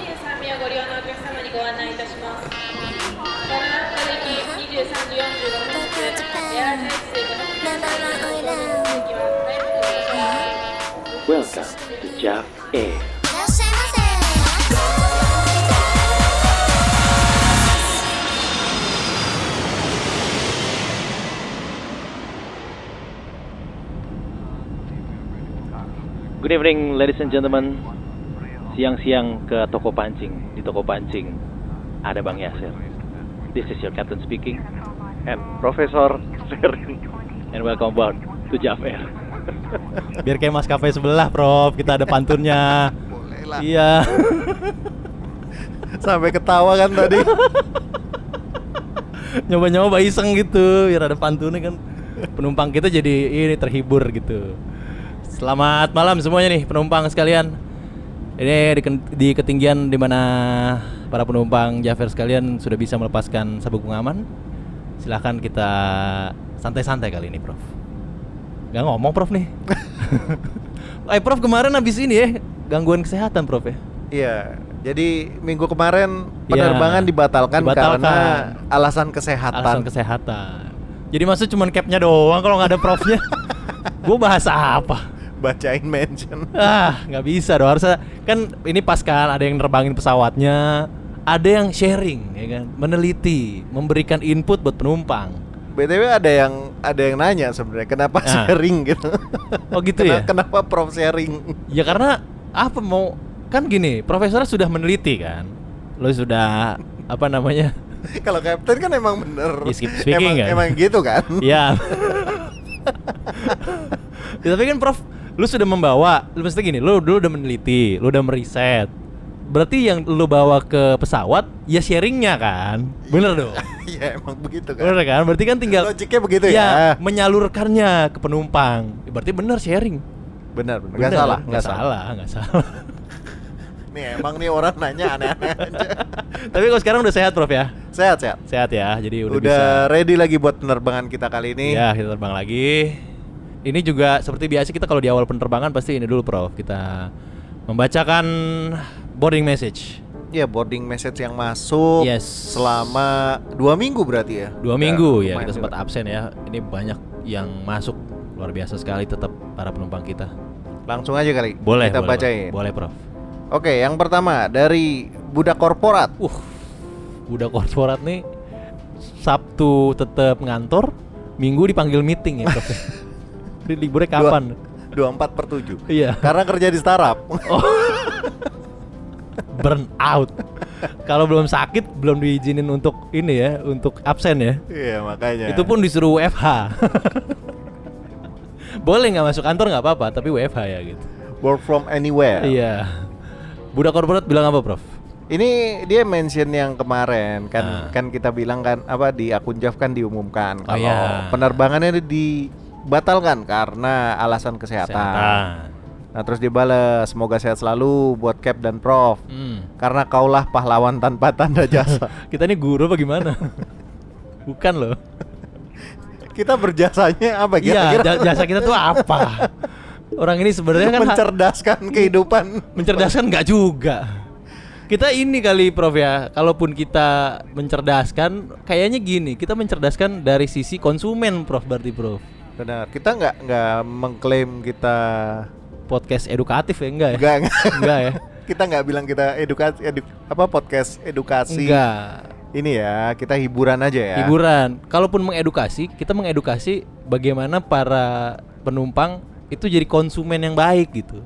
ご利用のお客様にご案内いたします。ご覧の駅23時45分発、エアータイプナンバーワンオイラー席は大丈夫でしょうか Welcome to Jap Air. いらっしゃいま Good evening, ladies and gentlemen. Siang-siang ke toko pancing. Di toko pancing ada Bang Yasir. This is your captain speaking. and Profesor Serin. And welcome back to Jap Air. Biar kayak mas kafe sebelah, Prof. Kita ada pantunnya. Boleh lah. iya. Sampai ketawa kan tadi. Nyoba-nyoba iseng gitu, biar ada pantunnya kan. Penumpang kita jadi ini terhibur gitu. Selamat malam semuanya nih penumpang sekalian. Ini di, ken- di ketinggian di mana para penumpang Jafar sekalian sudah bisa melepaskan sabuk pengaman. Silahkan kita santai-santai kali ini, Prof. Gak ngomong, Prof nih. eh, Prof kemarin habis ini ya gangguan kesehatan, Prof ya. Iya. Jadi minggu kemarin Iya. penerbangan dibatalkan, Dibatalkan. karena alasan kesehatan. alasan kesehatan. Jadi maksudnya cuman capnya doang kalau nggak ada profnya. gue bahas apa? Bacain mention. Ah, nggak bisa dong. Harusnya kan ini pas kan ada yang nerbangin pesawatnya, ada yang sharing, ya kan, meneliti, memberikan input buat penumpang. BTW ada yang ada yang nanya sebenarnya kenapa Ah. sharing gitu. Oh, gitu Kena- ya? Kenapa Prof sharing? Ya karena apa mau kan gini, profesornya sudah meneliti kan, lo sudah apa namanya? Kalau Captain kan emang bener. Ya, skip speaking emang, kan? emang gitu kan? Ya. Ya, tapi kan Prof, lu sudah membawa, lu mesti gini, lu dulu udah meneliti, lu udah meriset. Berarti yang lu bawa ke pesawat ya sharingnya kan, bener dong. Iya emang begitu kan. Bener kan? Berarti kan tinggal Logiknya begitu ya, ya. menyalurkannya ke penumpang. Berarti bener sharing. Benar, benar. Bener, Gak salah, nggak salah, nggak salah. Nih emang nih orang nanya aneh-aneh aja. tapi kalau sekarang udah sehat Prof ya, Sehat, sehat. sehat ya, jadi udah, Udah, ready lagi buat penerbangan kita kali ini. Iya, kita terbang lagi. Ini juga seperti biasa kita kalau di awal penerbangan pasti ini dulu Prof. Kita membacakan boarding message. Ya boarding message yang masuk Yes. selama dua minggu berarti ya. Dua Udah minggu ya lumayan kita sempat juga. absen ya. Ini banyak yang masuk luar biasa sekali tetap para penumpang kita. Langsung aja kali. Boleh kita boleh, bacain. Boleh, Prof. Oke, yang pertama dari budak korporat. Uh. Udah korporat nih Sabtu tetap ngantor, Minggu dipanggil meeting ya, Prof. Jadi liburnya kapan? 24 per 7 Iya. Oh. Karena kerja di startup. burn out. Kalau belum sakit belum diizinin untuk ini ya, untuk absen ya. Iya makanya. Itu pun disuruh WFH. Boleh nggak masuk kantor nggak apa-apa, tapi WFH ya gitu. work from anywhere. Iya. Budak korporat bilang apa, Prof? Ini dia mention yang kemarin Ah. kan kan kita bilang kan apa di akun Jav kan diumumkan Oh, kalau iya. penerbangannya dibatalkan karena alasan kesehatan. Nah terus dibales semoga sehat selalu buat Cap dan Prof. Hmm. Karena kaulah pahlawan tanpa tanda jasa. Kita ini guru apa gimana? Bukan loh. kita berjasanya apa Iya, kira-kira? ja- jasa kita tuh apa? Orang ini sebenarnya kan ha- mencerdaskan kehidupan. mencerdaskan nggak juga kita ini kali prof ya kalaupun kita mencerdaskan kayaknya gini kita mencerdaskan dari sisi konsumen prof berarti prof Benar. Kita nggak nggak mengklaim kita podcast edukatif ya enggak ya nggak enggak ya kita nggak bilang kita edukasi edu- apa podcast edukasi. enggak Ini ya kita hiburan aja ya. hiburan kalaupun mengedukasi kita mengedukasi bagaimana para penumpang itu jadi konsumen yang baik gitu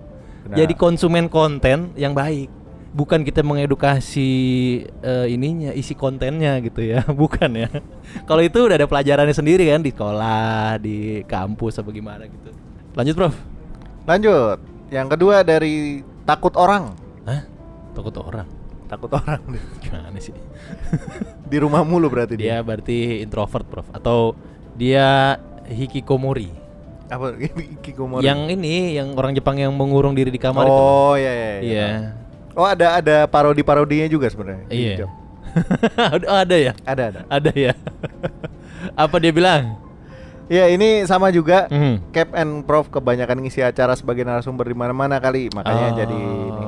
Benar. jadi konsumen konten yang baik bukan kita mengedukasi eh, ininya isi kontennya gitu ya bukan ya kalau itu udah ada pelajarannya sendiri kan di sekolah di kampus apa gimana gitu lanjut prof Lanjut. Yang kedua dari takut orang. Hah? takut orang Takut orang deh. gimana sih di rumah mulu berarti dia dia. berarti introvert prof atau dia hikikomori Apa Kikomori? Yang ini yang orang Jepang yang mengurung diri di kamar itu. Oh iya iya. iya. Iya. Oh ada ada parodi parodinya juga sebenarnya. Iya. Hijab. Oh, ada ya? Ada ada. Ada ya. Apa dia bilang? Ya ini sama juga. Mhm. Cap and Prof kebanyakan ngisi acara sebagai narasumber di mana-mana kali, makanya Oh. jadi ini.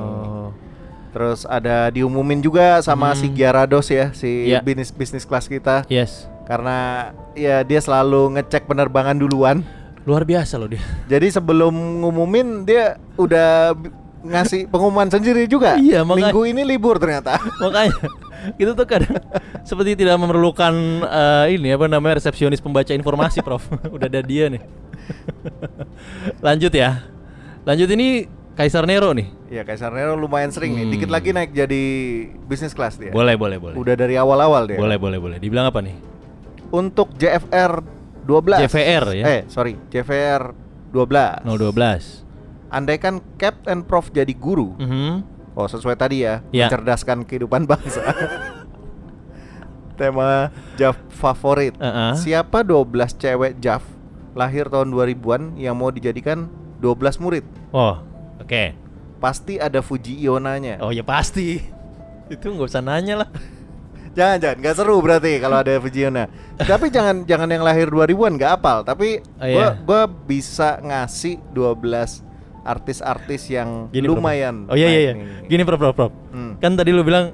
Terus ada diumumin juga sama si Giarados ya, Mhm. si Iya. bisnis bisnis kelas kita. Yes. Karena ya dia selalu ngecek penerbangan duluan. Luar biasa loh dia. Jadi sebelum ngumumin dia udah bi- ngasih pengumuman sendiri juga. Iya, makanya- Minggu ini libur ternyata. Makanya itu tuh kadang seperti tidak memerlukan eh, ini apa namanya resepsionis pembaca informasi, Prof. Udah ada dia nih. Lanjut ya. Lanjut ini Kaisar Nero nih. Iya, Kaisar Nero lumayan sering nih. Dikit lagi naik jadi bisnis kelas dia. Hmm. Boleh, boleh, boleh. Iya. Udah ya. dari awal-awal dia. Boleh, boleh, boleh. Dibilang apa nih? Untuk JFR 12. JVR ya? Oh, Eh, sorry, JVR 12. 012. Andaikan Captain Prof jadi guru. Mhm. Oh, sesuai tadi ya, Iya. mencerdaskan kehidupan bangsa. Tema Jav favorit. Uh-uh. Siapa 12 cewek Jav lahir tahun 2000-an yang mau dijadikan 12 murid? Oh, oke. Pasti ada Fuji Ionanya. Oh ya pasti. Itu nggak usah nanya lah. Jangan jangan nggak seru berarti kalau ada Fuji Iona. tapi jangan jangan yang lahir 2000-an nggak apal, tapi Oh, gua iya. gua bisa ngasih 12 artis-artis yang Prof. lumayan. Oh iya iya iya. naik nih. Gini Prof, Prof, Prof. Hmm. Kan tadi lu bilang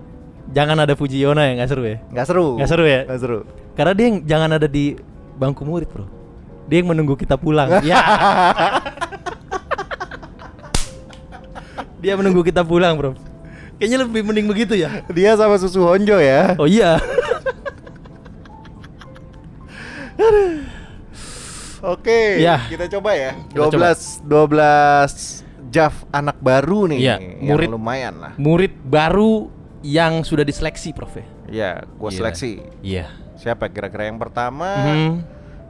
jangan ada Fujiona ya nggak seru ya? Nggak seru. Nggak seru ya? Nggak seru. Karena dia yang jangan ada di bangku murid, Bro. Dia yang menunggu kita pulang. ya. Dia menunggu kita pulang, Bro. Kayaknya lebih mending begitu ya. Dia sama susu Honjo ya. Oh iya. Oke, Ya. kita coba ya. Kita 12 12 Jaf anak baru nih. Iya, yang murid. lumayan lah. Murid baru yang sudah diseleksi, Prof ya. Ya, gua Gila. seleksi. Iya. Siapa kira-kira yang pertama? Mhm.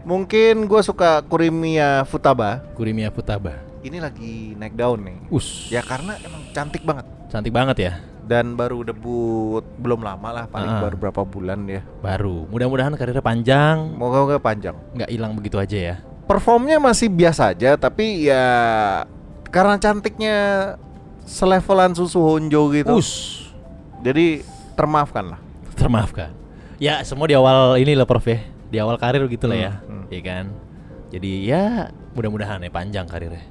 Mungkin gua suka Kurimiya Futaba. Kurimiya Futaba. Ini lagi naik daun nih. Us. Ya karena emang cantik banget Cantik banget ya. dan baru debut belum lama lah, paling Ah. baru berapa bulan dia. Baru. Mudah-mudahan karirnya panjang, Moga-moga panjang. nggak hilang begitu aja ya. Performnya masih biasa aja, tapi ya karena cantiknya selevelan susu Honjo gitu. Us. Jadi termaafkan lah. termaafkan. Ya semua di awal ini lah Prof ya, di awal karir gitu lah ya, Hmm, hmm. Iya kan. Jadi ya mudah-mudahan ya panjang karirnya.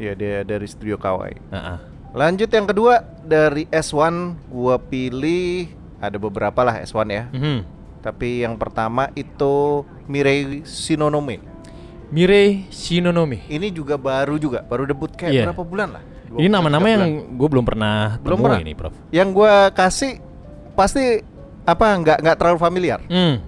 Iya, Ya dia dari studio Kawai. Heeh. Lanjut yang kedua dari S1 gua pilih ada beberapa lah S1 ya. Mhm. Tapi yang pertama itu Mirei Shinonome. Mirei Shinonomi. Ini juga baru juga, baru debut kayak Iya. berapa bulan lah? Dua Ini bulan, nama-nama tiga yang bulan. gue belum pernah Belum temui pernah. ini Prof. yang gua kasih pasti apa nggak nggak terlalu familiar Hmm.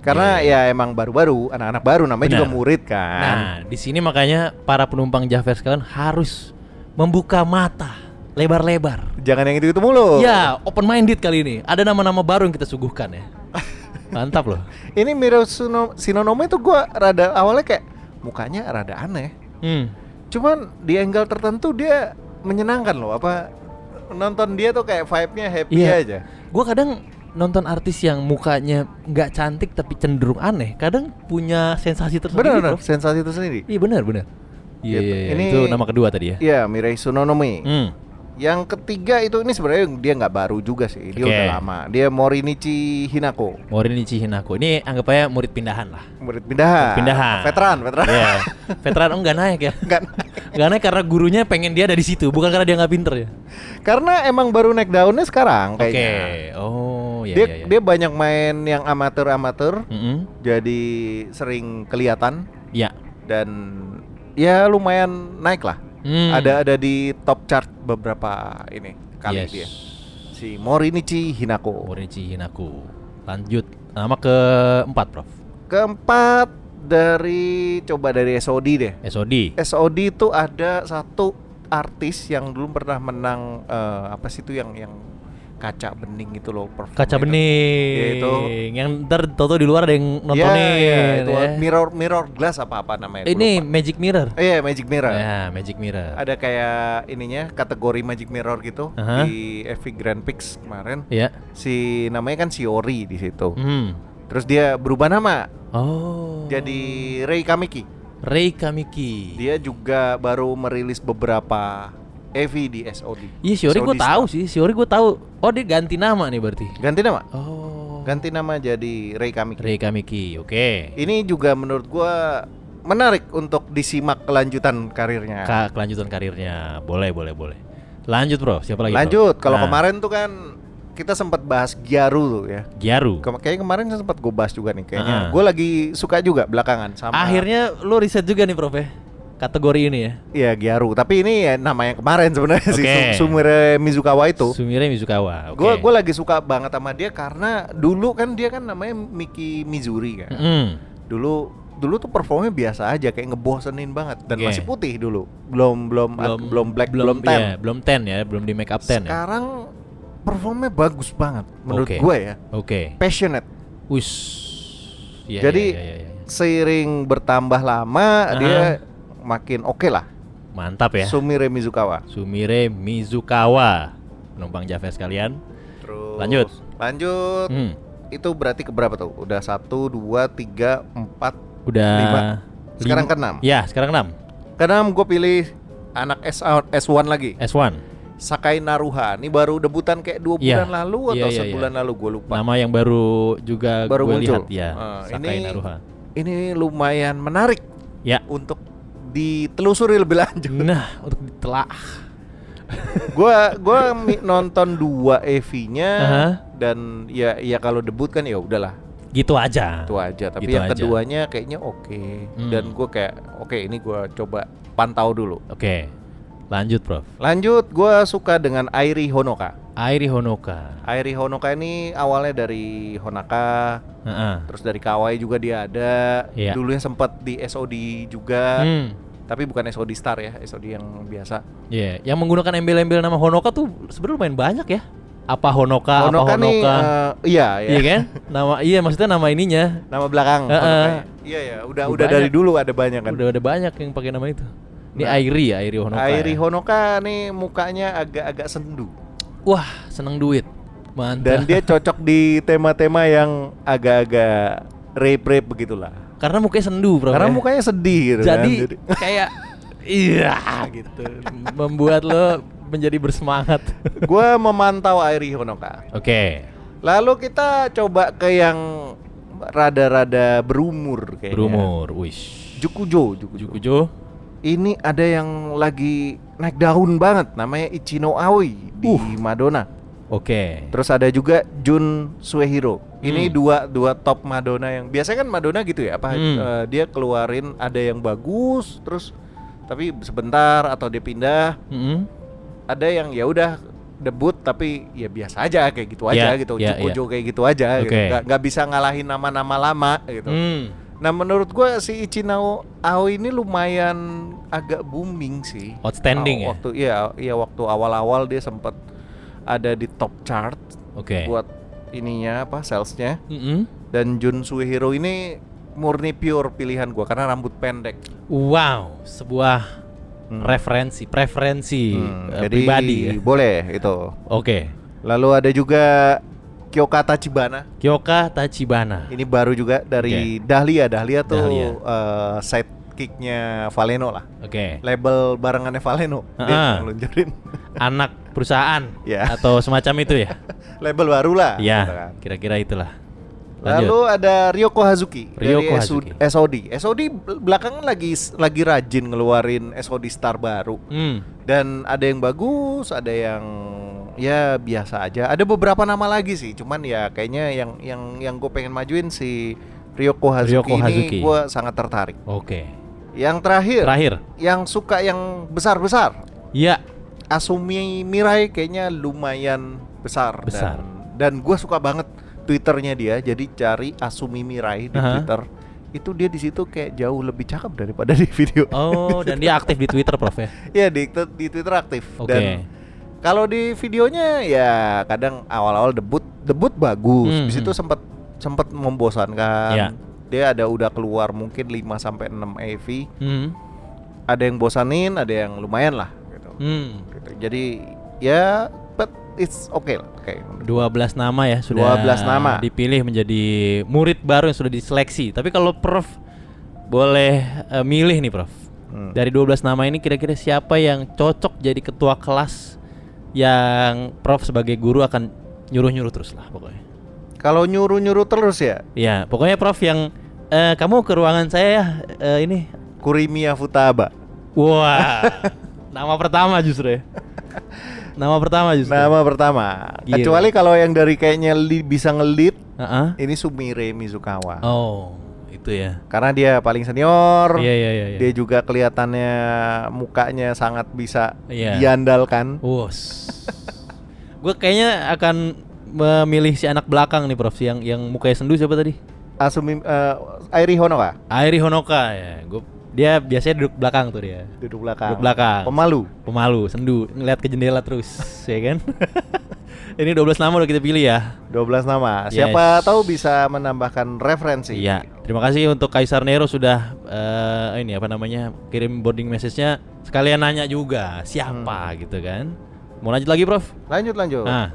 karena ya emang baru-baru anak-anak baru namanya juga iya, Benar. murid kan. Nah di sini makanya para penumpang Javer sekalian harus membuka mata lebar-lebar. Jangan yang itu-itu mulu. Ya open minded kali ini. Ada nama-nama baru yang kita suguhkan ya. Mantap loh. Ini Miro Suno- Shinonome itu gua rada awalnya kayak mukanya rada aneh. Hmm. Cuman di angle tertentu dia menyenangkan loh apa nonton dia tuh kayak vibe-nya happy Iya. aja. Gue kadang nonton artis yang mukanya nggak cantik tapi cenderung aneh, kadang punya sensasi tersendiri. Benar benar Prof. sensasi itu sendiri. Iya benar benar. Iya Gitu. iya, iya. Ini- itu nama kedua tadi ya. Iya, Mirei Tsunonomi. Hmm. Yang ketiga itu ini sebenarnya dia nggak baru juga sih, Oke. dia udah lama. Dia Morinichi Hinako, Morinichi Hinako. Ini anggap aja murid pindahan lah. murid pindahan. Pindahan. Ah, Veteran, veteran. Iya. Veteran enggak naik ya. Nggak- Enggak naik karena gurunya pengen dia ada di situ, bukan karena dia nggak pinter ya. Karena emang baru naik daunnya sekarang Oke. kayaknya. Oh, iya dia iya. iya. dia banyak main yang amatir-amatir, Mm-mm. jadi sering kelihatan Iya. dan ya lumayan naik lah. Hmm. Ada ada di top chart beberapa ini kali Yes. dia. Si Morinichi Hinako. Morinichi Hinako. Lanjut nama keempat, Prof. Keempat dari coba dari SOD deh. SOD. SOD itu ada satu artis yang dulu pernah menang eh, apa sih itu yang yang kaca bening itu loh perform kaca itu. bening Ya, itu. yang ntar toto di luar ada yang Iya, nontonin iya, itu ya. mirror mirror glass apa apa namanya gua ini lupa. magic mirror Eh, iya magic mirror ya magic mirror ada kayak ininya kategori magic mirror gitu Aha. di FV Grand Prix kemarin ya si namanya kan Shiori di situ hmm. terus dia berubah nama oh jadi Iya. Rei Kamiki Rei Kamiki dia juga baru merilis beberapa EV di SOD iya Shiori gue Saudi tahu sih Shiori gue tahu oh dia ganti nama nih berarti ganti nama oh ganti nama jadi Rei Kamiki Rei Kamiki oke Ini juga menurut gua menarik untuk disimak kelanjutan karirnya. Ka- kelanjutan karirnya boleh boleh boleh Lanjut bro, siapa lagi? bro? Lanjut, kalau Nah, kemarin tuh kan kita sempat bahas Gyaru tuh ya. Gyaru. Kem kayaknya kemarin sempat gue bahas juga nih kayaknya. Ah. Gue lagi suka juga belakangan sama Akhirnya lu riset juga nih Prof ya kategori ini ya. ya Gyaru, tapi ini ya nama yang kemarin sebenarnya si Oke. Su- Sumire Mizukawa itu. Sumire Mizukawa. oke. Gue gue lagi suka banget sama dia karena dulu kan dia kan namanya Miki Mizuri kan. Mm-mm. Dulu dulu tuh performnya biasa aja kayak ngebosenin banget dan Oke. masih putih dulu. Belum belum belum, black, belum, tan. iya, belum ten ya, belum di make up ten ya. Sekarang performnya bagus banget menurut Oke. gue ya. Oke. Passionate. Wis. Iya, Jadi iya, iya, iya. seiring bertambah lama Aha. dia makin oke lah. mantap ya. Sumire Mizukawa. Sumire Mizukawa. Penumpang Java sekalian. Terus Lanjut. Lanjut. Hmm. Itu berarti keberapa tuh? Udah satu, dua, tiga, empat. Udah Lima. lima- Sekarang keenam. Ya, sekarang keenam. Karena gue pilih anak S S1 lagi. S1. Sakai Naruha. Ini baru debutan kayak dua Iya. bulan lalu atau Iya, iya, sebulan iya. lalu gue lupa. Nama yang baru juga baru gue muncul. lihat ya. Eh, Sakai ini Naruha. ini lumayan menarik Ya. untuk ditelusuri lebih lanjut. Nah, untuk ditelaah. gua gua mi- nonton dua EV-nya Aha. dan ya ya kalau debut kan ya udahlah Gitu aja. itu aja tapi Gitu yang aja. keduanya kayaknya oke Hmm. dan gua kayak oke ini gua coba pantau dulu Oke, lanjut Prof. lanjut gua suka dengan Airi Honoka Airi Honoka. Airi Honoka ini awalnya dari Honaka Heeh. terus dari Kawai juga dia ada Iya. dulunya sempat di SOD juga Hmm. tapi bukan SOD Star ya SOD yang biasa Iya, yang menggunakan embel-embel nama Honoka tuh sebenarnya lumayan banyak ya. Apa Honoka, Ah, apa Honoka. nih eh, iya ya Iya kan? Nama iya maksudnya nama ininya. nama belakang Heeh. Honokanya. iya ya udah udah Banyak. dari dulu ada banyak kan Udah ada banyak yang pakai nama itu. Ini Nah. Airi ya, Airi Honoka. Airi ya. Honoka nih mukanya agak-agak sendu Wah, seneng duit. Mantap. dan dia cocok di tema-tema yang agak-agak rape-rape begitulah. karena mukanya sendu, Prof. ya. Karena mukanya sedih gitu kan. jadi kayak iya gitu. Membuat lo menjadi bersemangat. gua memantau Airi Honoka. Oke, Lalu kita coba ke yang rada-rada berumur kayaknya. berumur, wish. Jukujo, Jukujo. Jukujo. Ini ada yang lagi naik daun banget namanya Ichino Aoi di Uh. Madonna. Oke. Terus ada juga Jun Suehiro. Ini Hmm. dua dua top Madonna yang biasanya kan Madonna gitu ya, apa Hmm. eh, dia keluarin ada yang bagus terus tapi sebentar atau dia pindah, Mm-mm. ada yang ya udah debut tapi ya biasa aja kayak gitu aja Ya, gitu, ya, Cukujo kayak gitu aja gitu. Oke. Nggak, nggak bisa ngalahin nama-nama lama gitu. Hmm. Nah, menurut gua si Ichinao Ao ini lumayan agak booming sih. Outstanding ya? waktu, ya? Iya, iya waktu awal-awal dia sempet ada di top chart Oke. buat ininya apa salesnya Mm-mm. dan Jun Suihiro ini murni pure pilihan gua karena rambut pendek Wow, sebuah Hmm. referensi, preferensi Hmm, eh, pribadi. ya. boleh itu Oke. lalu ada juga Kyoka Tachibana Kyoka Tachibana. ini baru juga dari Dahlia Dahlia tuh Dahlia. eh, sidekicknya Valeno lah Oke. label barengannya Valeno dia Ah. ngeluncurin Anak perusahaan Ya. atau semacam itu ya? label baru lah Iya, gitu kan. kira-kira itulah. Lalu ada Ryoko Hazuki Ryoko dari SOD. Hazuki. SOD. SOD belakangan lagi lagi rajin ngeluarin SOD Star baru. Hmm. Dan ada yang bagus, ada yang ya biasa aja. Ada beberapa nama lagi sih, cuman ya kayaknya yang yang yang gue pengen majuin si Ryoko Hazuki, Ryoko Hazuki. ini gue sangat tertarik. Oke. Yang terakhir, Terakhir. yang suka yang besar-besar, Ya, Asumi Mirai kayaknya lumayan besar, Besar. dan dan gue suka banget twitternya dia jadi cari Asumi Mirai di Aha. twitter itu dia di situ kayak jauh lebih cakep daripada di video Oh, dan dia aktif di Twitter, Prof ya. ya di, di twitter aktif Oke. dan kalau di videonya ya kadang awal-awal debut debut bagus Hmm, di situ hmm. sempat sempat membosankan Ya. dia ada udah keluar mungkin 5 sampai 6 AV Hmm. ada yang bosanin ada yang lumayan lah gitu. Hmm. Gitu. Jadi ya but it's okay lah kayak gitu. 12 nama ya sudah 12 nama. dipilih menjadi murid baru yang sudah diseleksi. Tapi kalau Prof boleh eh, milih nih Prof. Hmm. Dari 12 nama ini kira-kira siapa yang cocok jadi ketua kelas yang Prof sebagai guru akan nyuruh-nyuruh terus lah pokoknya. Kalau nyuruh-nyuruh terus ya Ya, pokoknya Prof yang eh, kamu ke ruangan saya ya eh, ini. Kurimiya Futaba. Wah. nama pertama justru ya. Nama pertama justru. Iya. Nama pertama. Gila. Kecuali kalau yang dari kayaknya li- bisa ngelit, Heeh. ini Sumire Mizukawa. Oh, itu ya. Karena dia paling senior. Iya, iya, iya, iya. Dia juga kelihatannya mukanya sangat bisa Iya. diandalkan. Wos. Gue kayaknya akan memilih si anak belakang nih Prof, si yang yang mukanya sendu siapa tadi? Asumi eh, Airi Honoka Airi Honoka ya. Gua dia biasanya duduk belakang tuh dia. duduk belakang. Duduk belakang. Pemalu. Pemalu, sendu, ngeliat ke jendela terus, ya kan? Ini 12 nama udah kita pilih ya. 12 nama. Yes. Siapa tahu bisa menambahkan referensi. Iya. Terima kasih untuk Kaisar Nero sudah eh, ini apa namanya kirim boarding message-nya. Sekalian nanya juga siapa gitu kan. Mau lanjut lagi, Prof? Lanjut lanjut. Nah,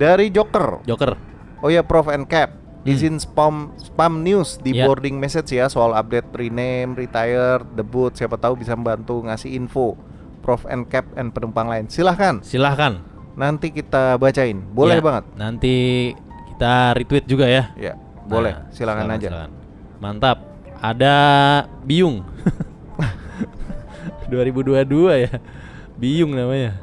Dari Joker. Joker. Oh ya Prof and Cap. Izin spam spam news Hmm. di Iya. boarding message ya soal update rename, retire, debut. Siapa tahu bisa membantu ngasih info. Prof and Cap and penumpang lain. Silahkan. Silahkan. Nanti kita bacain. Boleh Ya, banget. Nanti kita retweet juga ya. Ya, boleh. Nah, silakan aja. silakan. Mantap. Ada Biung. 2022 ya. Biung namanya.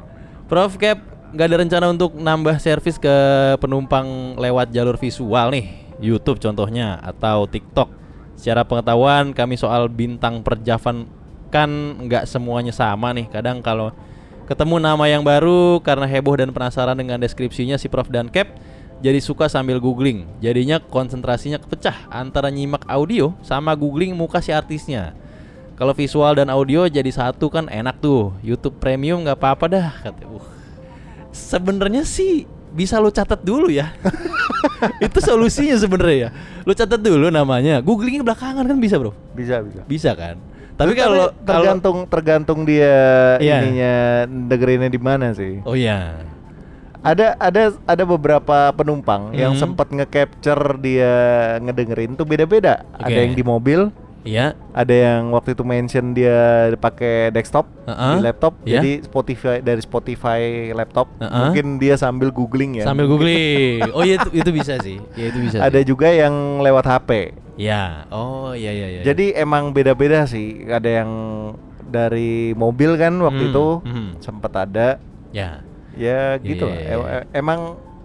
Prof Cap, nggak ada rencana untuk nambah servis ke penumpang lewat jalur visual nih. YouTube contohnya atau TikTok. Secara pengetahuan kami soal bintang perjavan kan nggak semuanya sama nih. Kadang kalau ketemu nama yang baru karena heboh dan penasaran dengan deskripsinya si Prof dan Cap, jadi suka sambil googling. Jadinya konsentrasinya kepecah antara nyimak audio sama googling muka si artisnya. Kalau visual dan audio jadi satu kan enak tuh. YouTube Premium nggak apa-apa dah kata. Uh. Sebenarnya sih bisa lu catat dulu ya. Itu solusinya sebenarnya ya. Lu catat dulu namanya. Googlingnya belakangan kan bisa, Bro. Bisa, bisa. Bisa kan? Tapi Tapi kalau kalau tergantung tergantung dia Iya. ininya dengerinnya di mana sih. Oh iya. Ada ada ada beberapa penumpang yang Hmm. sempat nge-capture dia ngedengerin tuh beda-beda. Oke. Ada yang di mobil, Iya. ada yang waktu itu mention dia pakai desktop Heeh. di laptop. Iya. Jadi Spotify dari Spotify laptop Heeh. mungkin dia sambil googling ya. Sambil googling. Oh iya itu, itu bisa sih. Ya itu bisa. ada sih. juga yang lewat HP. Ya. Oh iya iya iya. Jadi emang beda-beda sih. Ada yang dari mobil kan waktu Hmm, itu hmm. sempat ada. Ya. Ya gitu lah. Iya, iya, iya. E- Emang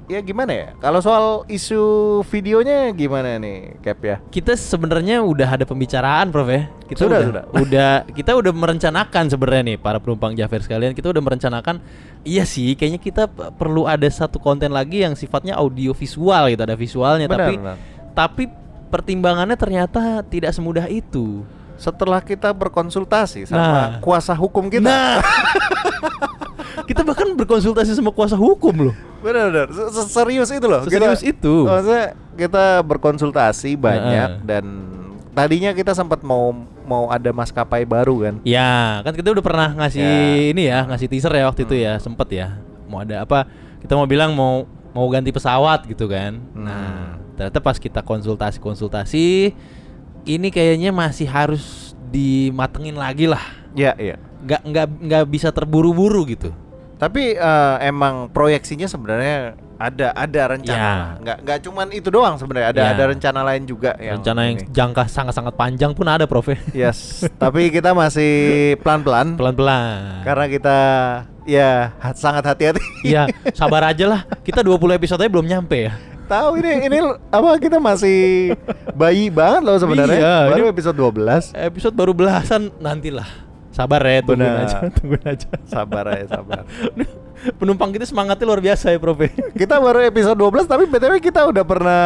ya gimana ya? Kalau soal isu videonya gimana nih, Cap ya? Kita sebenarnya udah ada pembicaraan, Prof ya. Kita Sudah, udah, sudah. udah kita udah merencanakan sebenarnya nih para penumpang Jafar sekalian, kita udah merencanakan iya sih kayaknya kita p- perlu ada satu konten lagi yang sifatnya audio visual gitu, ada visualnya Benar, tapi benar. tapi pertimbangannya ternyata tidak semudah itu. Setelah kita berkonsultasi sama Nah. kuasa hukum kita. Nah. kita bahkan berkonsultasi sama kuasa hukum loh. Benar, benar. Se- se- Serius itu loh. Seserius itu. Nah. Maksudnya kita berkonsultasi banyak Heeh. dan tadinya kita sempat mau mau ada maskapai baru kan. Ya, kan kita udah pernah ngasih Ya. Hmm. ini ya, ngasih teaser ya waktu itu ya, sempet ya. Mau ada apa? Kita mau bilang mau mau ganti pesawat gitu kan. Hmm. Nah, ternyata pas kita konsultasi-konsultasi, ini kayaknya masih harus dimatengin lagi lah. Ya, iya. Nggak nggak nggak bisa terburu-buru gitu. Tapi eh, emang proyeksinya sebenarnya ada ada rencana. Ya. Nggak nggak cuman itu doang sebenarnya. Ada Ya. ada rencana lain juga yang Rencana yang ini. jangka sangat-sangat panjang pun ada, Prof. ya. Hmm. Yes, tapi kita masih pelan-pelan Pelan-pelan. karena kita ya ha- sangat hati-hati. Iya, sabar aja lah. Kita 20 episode aja belum nyampe ya. Tahu ini ini l- apa kita masih bayi banget loh sebenarnya. Iya, Baru ini- episode 12. Episode baru belasan nantilah. Sabar ya, tungguin Benar. aja, tungguin aja. Sabar aja, sabar. Penumpang kita semangatnya luar biasa ya Prof Kita baru episode 12 tapi BTW kita udah pernah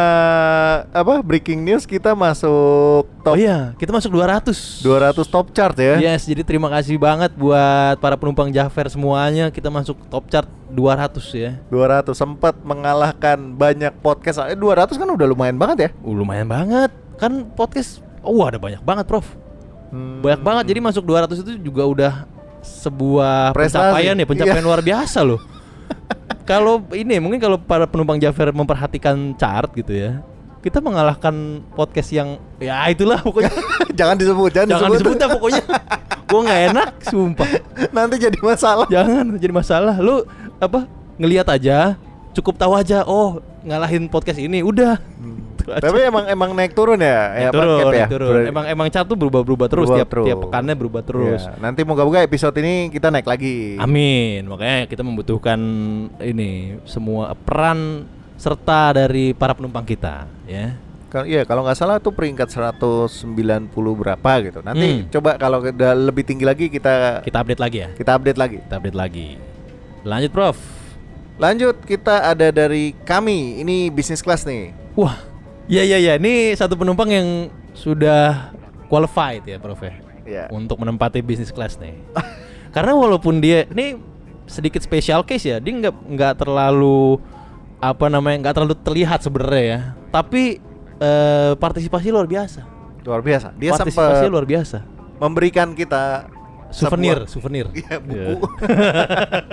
apa breaking news kita masuk Oh top iya kita masuk 200 200 top chart ya. Yes jadi terima kasih banget buat para penumpang Jafar semuanya Kita masuk top chart 200 ya 200 sempat mengalahkan banyak podcast. Eh 200 kan udah lumayan banget ya. uh, Lumayan banget Kan podcast Oh ada banyak banget Prof Banyak Hmm. banget jadi masuk 200 itu juga udah sebuah Prestasi. pencapaian ya Pencapaian Iya. luar biasa loh Kalau ini mungkin kalau para penumpang Jafar memperhatikan chart gitu ya kita mengalahkan podcast yang ya itulah pokoknya jangan disebut, jangan, Jangan Kan disebut dah pokoknya. Gua nggak enak, sumpah. Nanti jadi masalah. Jangan jadi masalah. Lu apa? Ngelihat aja, cukup tahu aja. Oh, ngalahin podcast ini udah. gitu aja. Hmm. Tapi emang emang naik turun ya? ya Naik turun, Pancap ya? naik turun. Emang emang cat tuh berubah-berubah terus Berubah tiap tiap terus. pekannya berubah terus. Iya, Nanti moga-moga episode ini kita naik lagi. Amin. Makanya kita membutuhkan ini semua peran serta dari para penumpang kita, ya. Kal- Iya, kalau nggak salah tuh peringkat 190 berapa gitu. Nanti Hmm. coba kalau udah lebih tinggi lagi kita Kita update lagi ya. kita update lagi. Kita update lagi. Lanjut, Prof. Lanjut kita ada dari kami. Ini bisnis kelas nih. Wah. Ya ya ya, ini satu penumpang yang sudah qualified ya, Prof ya. Iya. Untuk menempati bisnis class nih. Karena walaupun dia ini sedikit special case ya, dia nggak nggak terlalu apa namanya nggak terlalu terlihat sebenarnya ya. Tapi eh, partisipasi luar biasa. Luar biasa. Dia partisipasi sempat luar biasa. memberikan kita Souvenir, sebuah- souvenir. Iya, buku.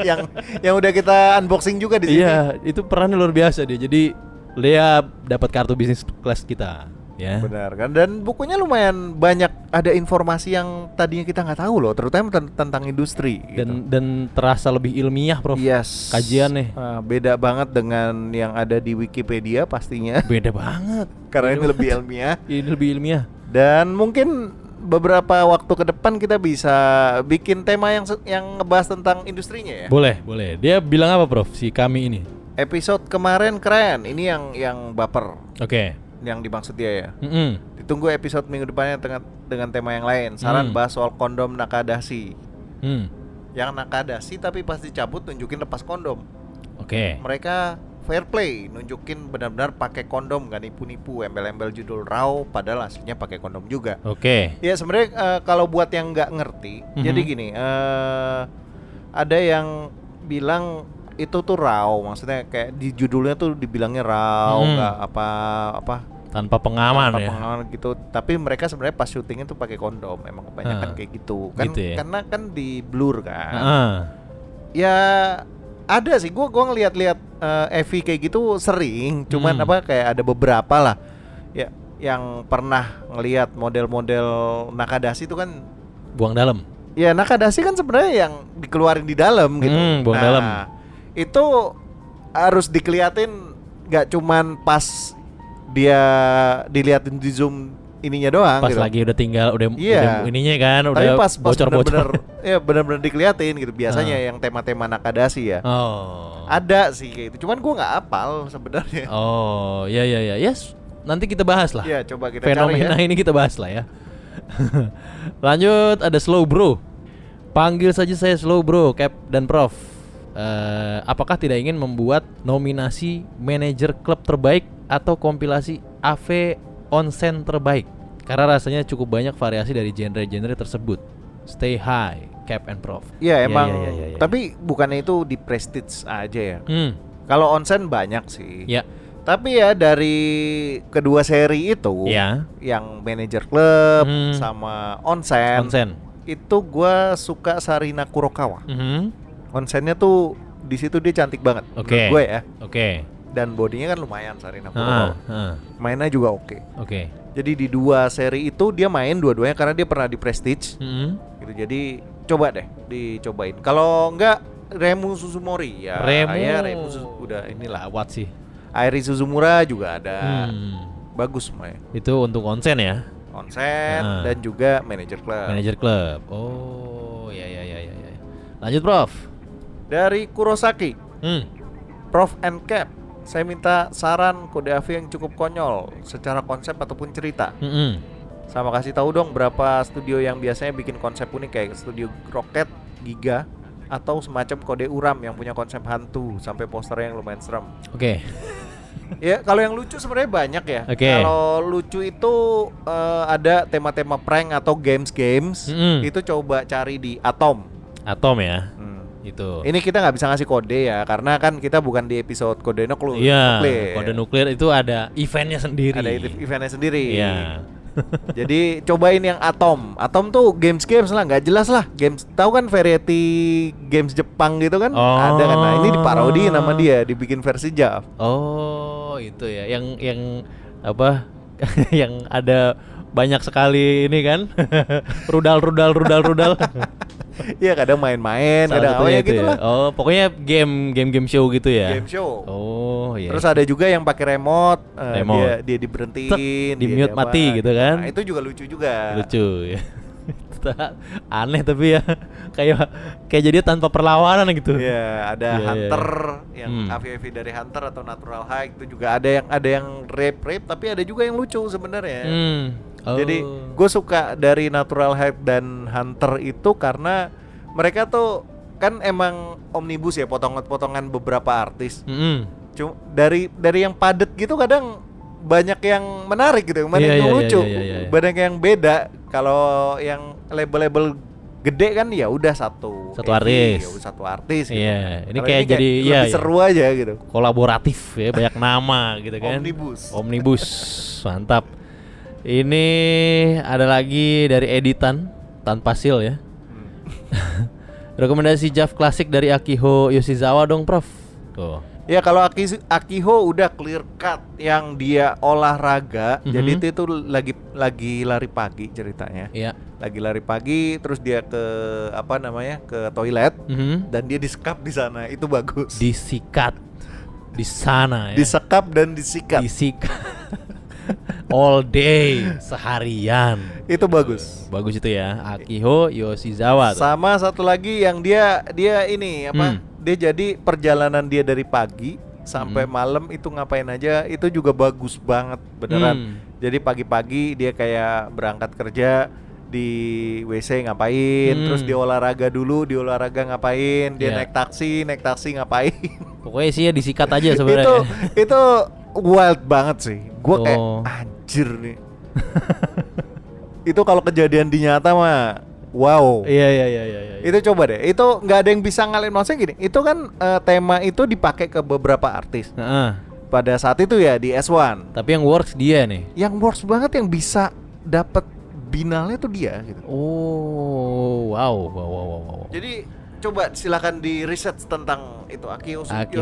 yang yang udah kita unboxing juga di sini. Iya, itu perannya luar biasa dia. Jadi dia dapat kartu bisnis kelas kita, ya. Benar kan? Dan bukunya lumayan banyak ada informasi yang tadinya kita nggak tahu loh, terutama ten- tentang industri. gitu. Dan dan terasa lebih ilmiah, Prof. Yes. oh, Kajian nih. Ah, beda banget dengan yang ada di Wikipedia pastinya. Beda banget. Karena ini lebih ilmiah. Iya, Ini lebih ilmiah. Dan mungkin beberapa waktu ke depan kita bisa bikin tema yang se- yang ngebahas tentang industrinya ya. Boleh, boleh. Dia bilang apa, Prof? Si kami ini. Episode kemarin keren. Ini yang yang baper Oke. yang dimaksud dia ya. Mm-mm. Ditunggu episode minggu depannya dengan dengan tema yang lain. Saran Hmm. bahas soal kondom nakadasi. Hmm. Yang nakadasi tapi pas dicabut nunjukin lepas kondom. Oke. Mereka fair play nunjukin benar-benar pakai kondom gak nipu-nipu embel-embel judul raw padahal aslinya pakai kondom juga. Oke. Ya sebenarnya eh, kalau buat yang nggak ngerti, Mhm. jadi gini, eh ada yang bilang itu tuh raw, maksudnya kayak di judulnya tuh dibilangnya raw, Hmm. nggak apa apa Tanpa pengaman apa ya. pengalaman gitu. Tapi mereka sebenarnya pas syutingnya tuh pakai kondom, emang Ah. kebanyakan kayak gitu. Kan Gitu ya. karena kan di blur kan. Heeh. Ya ada sih, gua gua ngeliat-liat eh, Evi kayak gitu sering, cuman Hmm. apa kayak ada beberapa lah. Ya yang pernah ngelihat model-model Nakadasi itu kan Buang dalam. Ya nakadasi kan sebenarnya yang dikeluarin di dalam gitu. Hmm, buang dalam. Itu harus dikeliatin nggak cuman pas dia diliatin di zoom ininya doang Pas gitu. lagi udah tinggal udah, Iya. udah ininya kan udah Tapi pas pas bener-bener bocor-bocor. Ah. ya bener-bener dikeliatin gitu biasanya yang tema-tema nakadasi ya. Oh. Ada sih kayak gitu. Cuman gua nggak hafal sebenarnya. Oh, ya ya ya. Yes. Nanti kita bahas lah. Ya coba kita Fenomena cari ya. ini kita bahas lah ya. Lanjut ada Slow Bro. Panggil saja saya Slow Bro, Cap dan Prof. Eh, apakah tidak ingin membuat nominasi manajer klub terbaik atau kompilasi AV onsen terbaik? Karena rasanya cukup banyak variasi dari genre-genre tersebut. Stay high, Cap and Prof. Ya Ya, emang. ya, ya, ya, ya. Tapi bukannya itu di prestige aja ya. Hmm, Kalau onsen banyak sih. ya. Tapi ya dari kedua seri itu, Ya. yang manajer klub Hmm. sama onsen, Onsen. itu gua suka Sarina Kurokawa. Mhm. Onsennya tuh di situ dia cantik banget, Oke. gue ya. Oke. Dan bodinya kan lumayan Sarina Ah, Kurokawa. ah, Mainnya juga oke. Oke. Jadi di dua seri itu dia main dua-duanya karena dia pernah di Prestige. Mhm. Gitu. Jadi coba deh dicobain. Kalau enggak Remu Suzumori ya. Remu. Ya Remu Suzu- udah inilah. Ya. Lawat sih. Airi Suzumura juga ada. Hmm. Bagus semuanya. Itu untuk onsen ya, onset Ah. dan juga manajer klub. manajer klub. Oh, ya ya ya ya ya. Lanjut, Prof. Dari Kurosaki, Hmm. Prof and Cap. Saya minta saran kode AV yang cukup konyol secara konsep ataupun cerita. Mm-mm. Sama kasih tahu dong berapa studio yang biasanya bikin konsep unik kayak studio Rocket, Giga atau semacam kode uram yang punya konsep hantu sampai posternya yang lumayan serem. Oke. Ya, kalau yang lucu sebenarnya banyak ya. Oke. Kalau lucu itu eh, ada tema-tema prank atau games-games. Mm-mm. Itu coba cari di Atom. Atom ya. Hmm. Itu. Ini kita nggak bisa ngasih kode ya, karena kan kita bukan di episode kode nuklir. Iya, nuklir. kode nuklir itu ada eventnya sendiri. Ada event- eventnya sendiri. Iya. Jadi cobain yang atom. Atom tuh games games lah, nggak jelas lah. Games tahu kan variety games Jepang gitu kan? Oh. Ada kan? Nah ini diparodi nama dia, dibikin versi Jav. Oh, itu ya. Yang yang apa? yang ada banyak sekali ini kan. rudal rudal rudal rudal. Iya kadang main-main, Salah kadang apa satunya ya itu gitu ya. lah. Oh, pokoknya game game game show gitu ya. Game show. Oh, Oh iya. Terus ada juga yang pakai remote, eh, Remote. dia dia diberhentiin, Tek, dia di mute mati diapain. gitu kan. Nah, itu juga lucu juga. lucu ya. Aneh tapi ya kayak kayak jadi tanpa perlawanan gitu. Iya, ada Iya, iya, hunter yang Hmm. AVV dari hunter atau natural high itu juga ada yang ada yang rape rape tapi ada juga yang lucu sebenarnya. Hmm. Oh. Jadi gue suka dari natural high dan hunter itu karena mereka tuh kan emang omnibus ya potongan-potongan beberapa artis. Mm-mm. Cuma dari dari yang padet gitu kadang banyak yang menarik gitu, banyak Iya, yang iya, lucu, iya, iya, iya, iya. banyak yang beda. Kalau yang label-label gede kan ya udah satu Satu MV, artis. ya udah satu artis. gitu. Iya, ini Kalau kayak jadi- iya, lebih iya. seru aja gitu. kolaboratif ya banyak nama gitu kan Omnibus. omnibus mantap ini ada lagi dari editan tanpa sil ya Hmm. rekomendasi Jav klasik dari Akiho Yoshizawa dong Prof tuh Ya kalau Aki, Akiho udah clear cut yang dia olahraga, Mhm. jadi itu, itu lagi lagi lari pagi ceritanya. ya Lagi lari pagi terus dia ke apa namanya? ke toilet Mhm. dan dia disekap di sana. Itu bagus. disikat di sana ya Disekap dan disikat. disikat all day seharian Itu bagus. bagus itu ya Akiho Yoshizawa tuh. Sama satu lagi yang dia dia ini apa? Hmm. Dia jadi perjalanan dia dari pagi Hmm. sampai malam itu ngapain aja itu juga bagus banget beneran. Hmm. Jadi pagi-pagi dia kayak berangkat kerja di WC ngapain, Hmm. terus dia olahraga dulu, di olahraga ngapain, dia Iya. naik taksi, naik taksi ngapain. pokoknya sih ya disikat aja itu sebenarnya itu wild banget sih gue kayak Oh. anjir nih itu kalau kejadian di nyata mah wow Iya iya iya iya. iya. itu coba deh itu nggak ada yang bisa ngalahin maksudnya gini itu kan eh, tema itu dipakai ke beberapa artis Heeh. pada saat itu ya di S1 Tapi yang works dia nih. yang worst banget yang bisa dapet binalnya tuh dia gitu Oh wow wow wow wow. wow. Jadi coba silakan di research tentang itu Akio Akiho.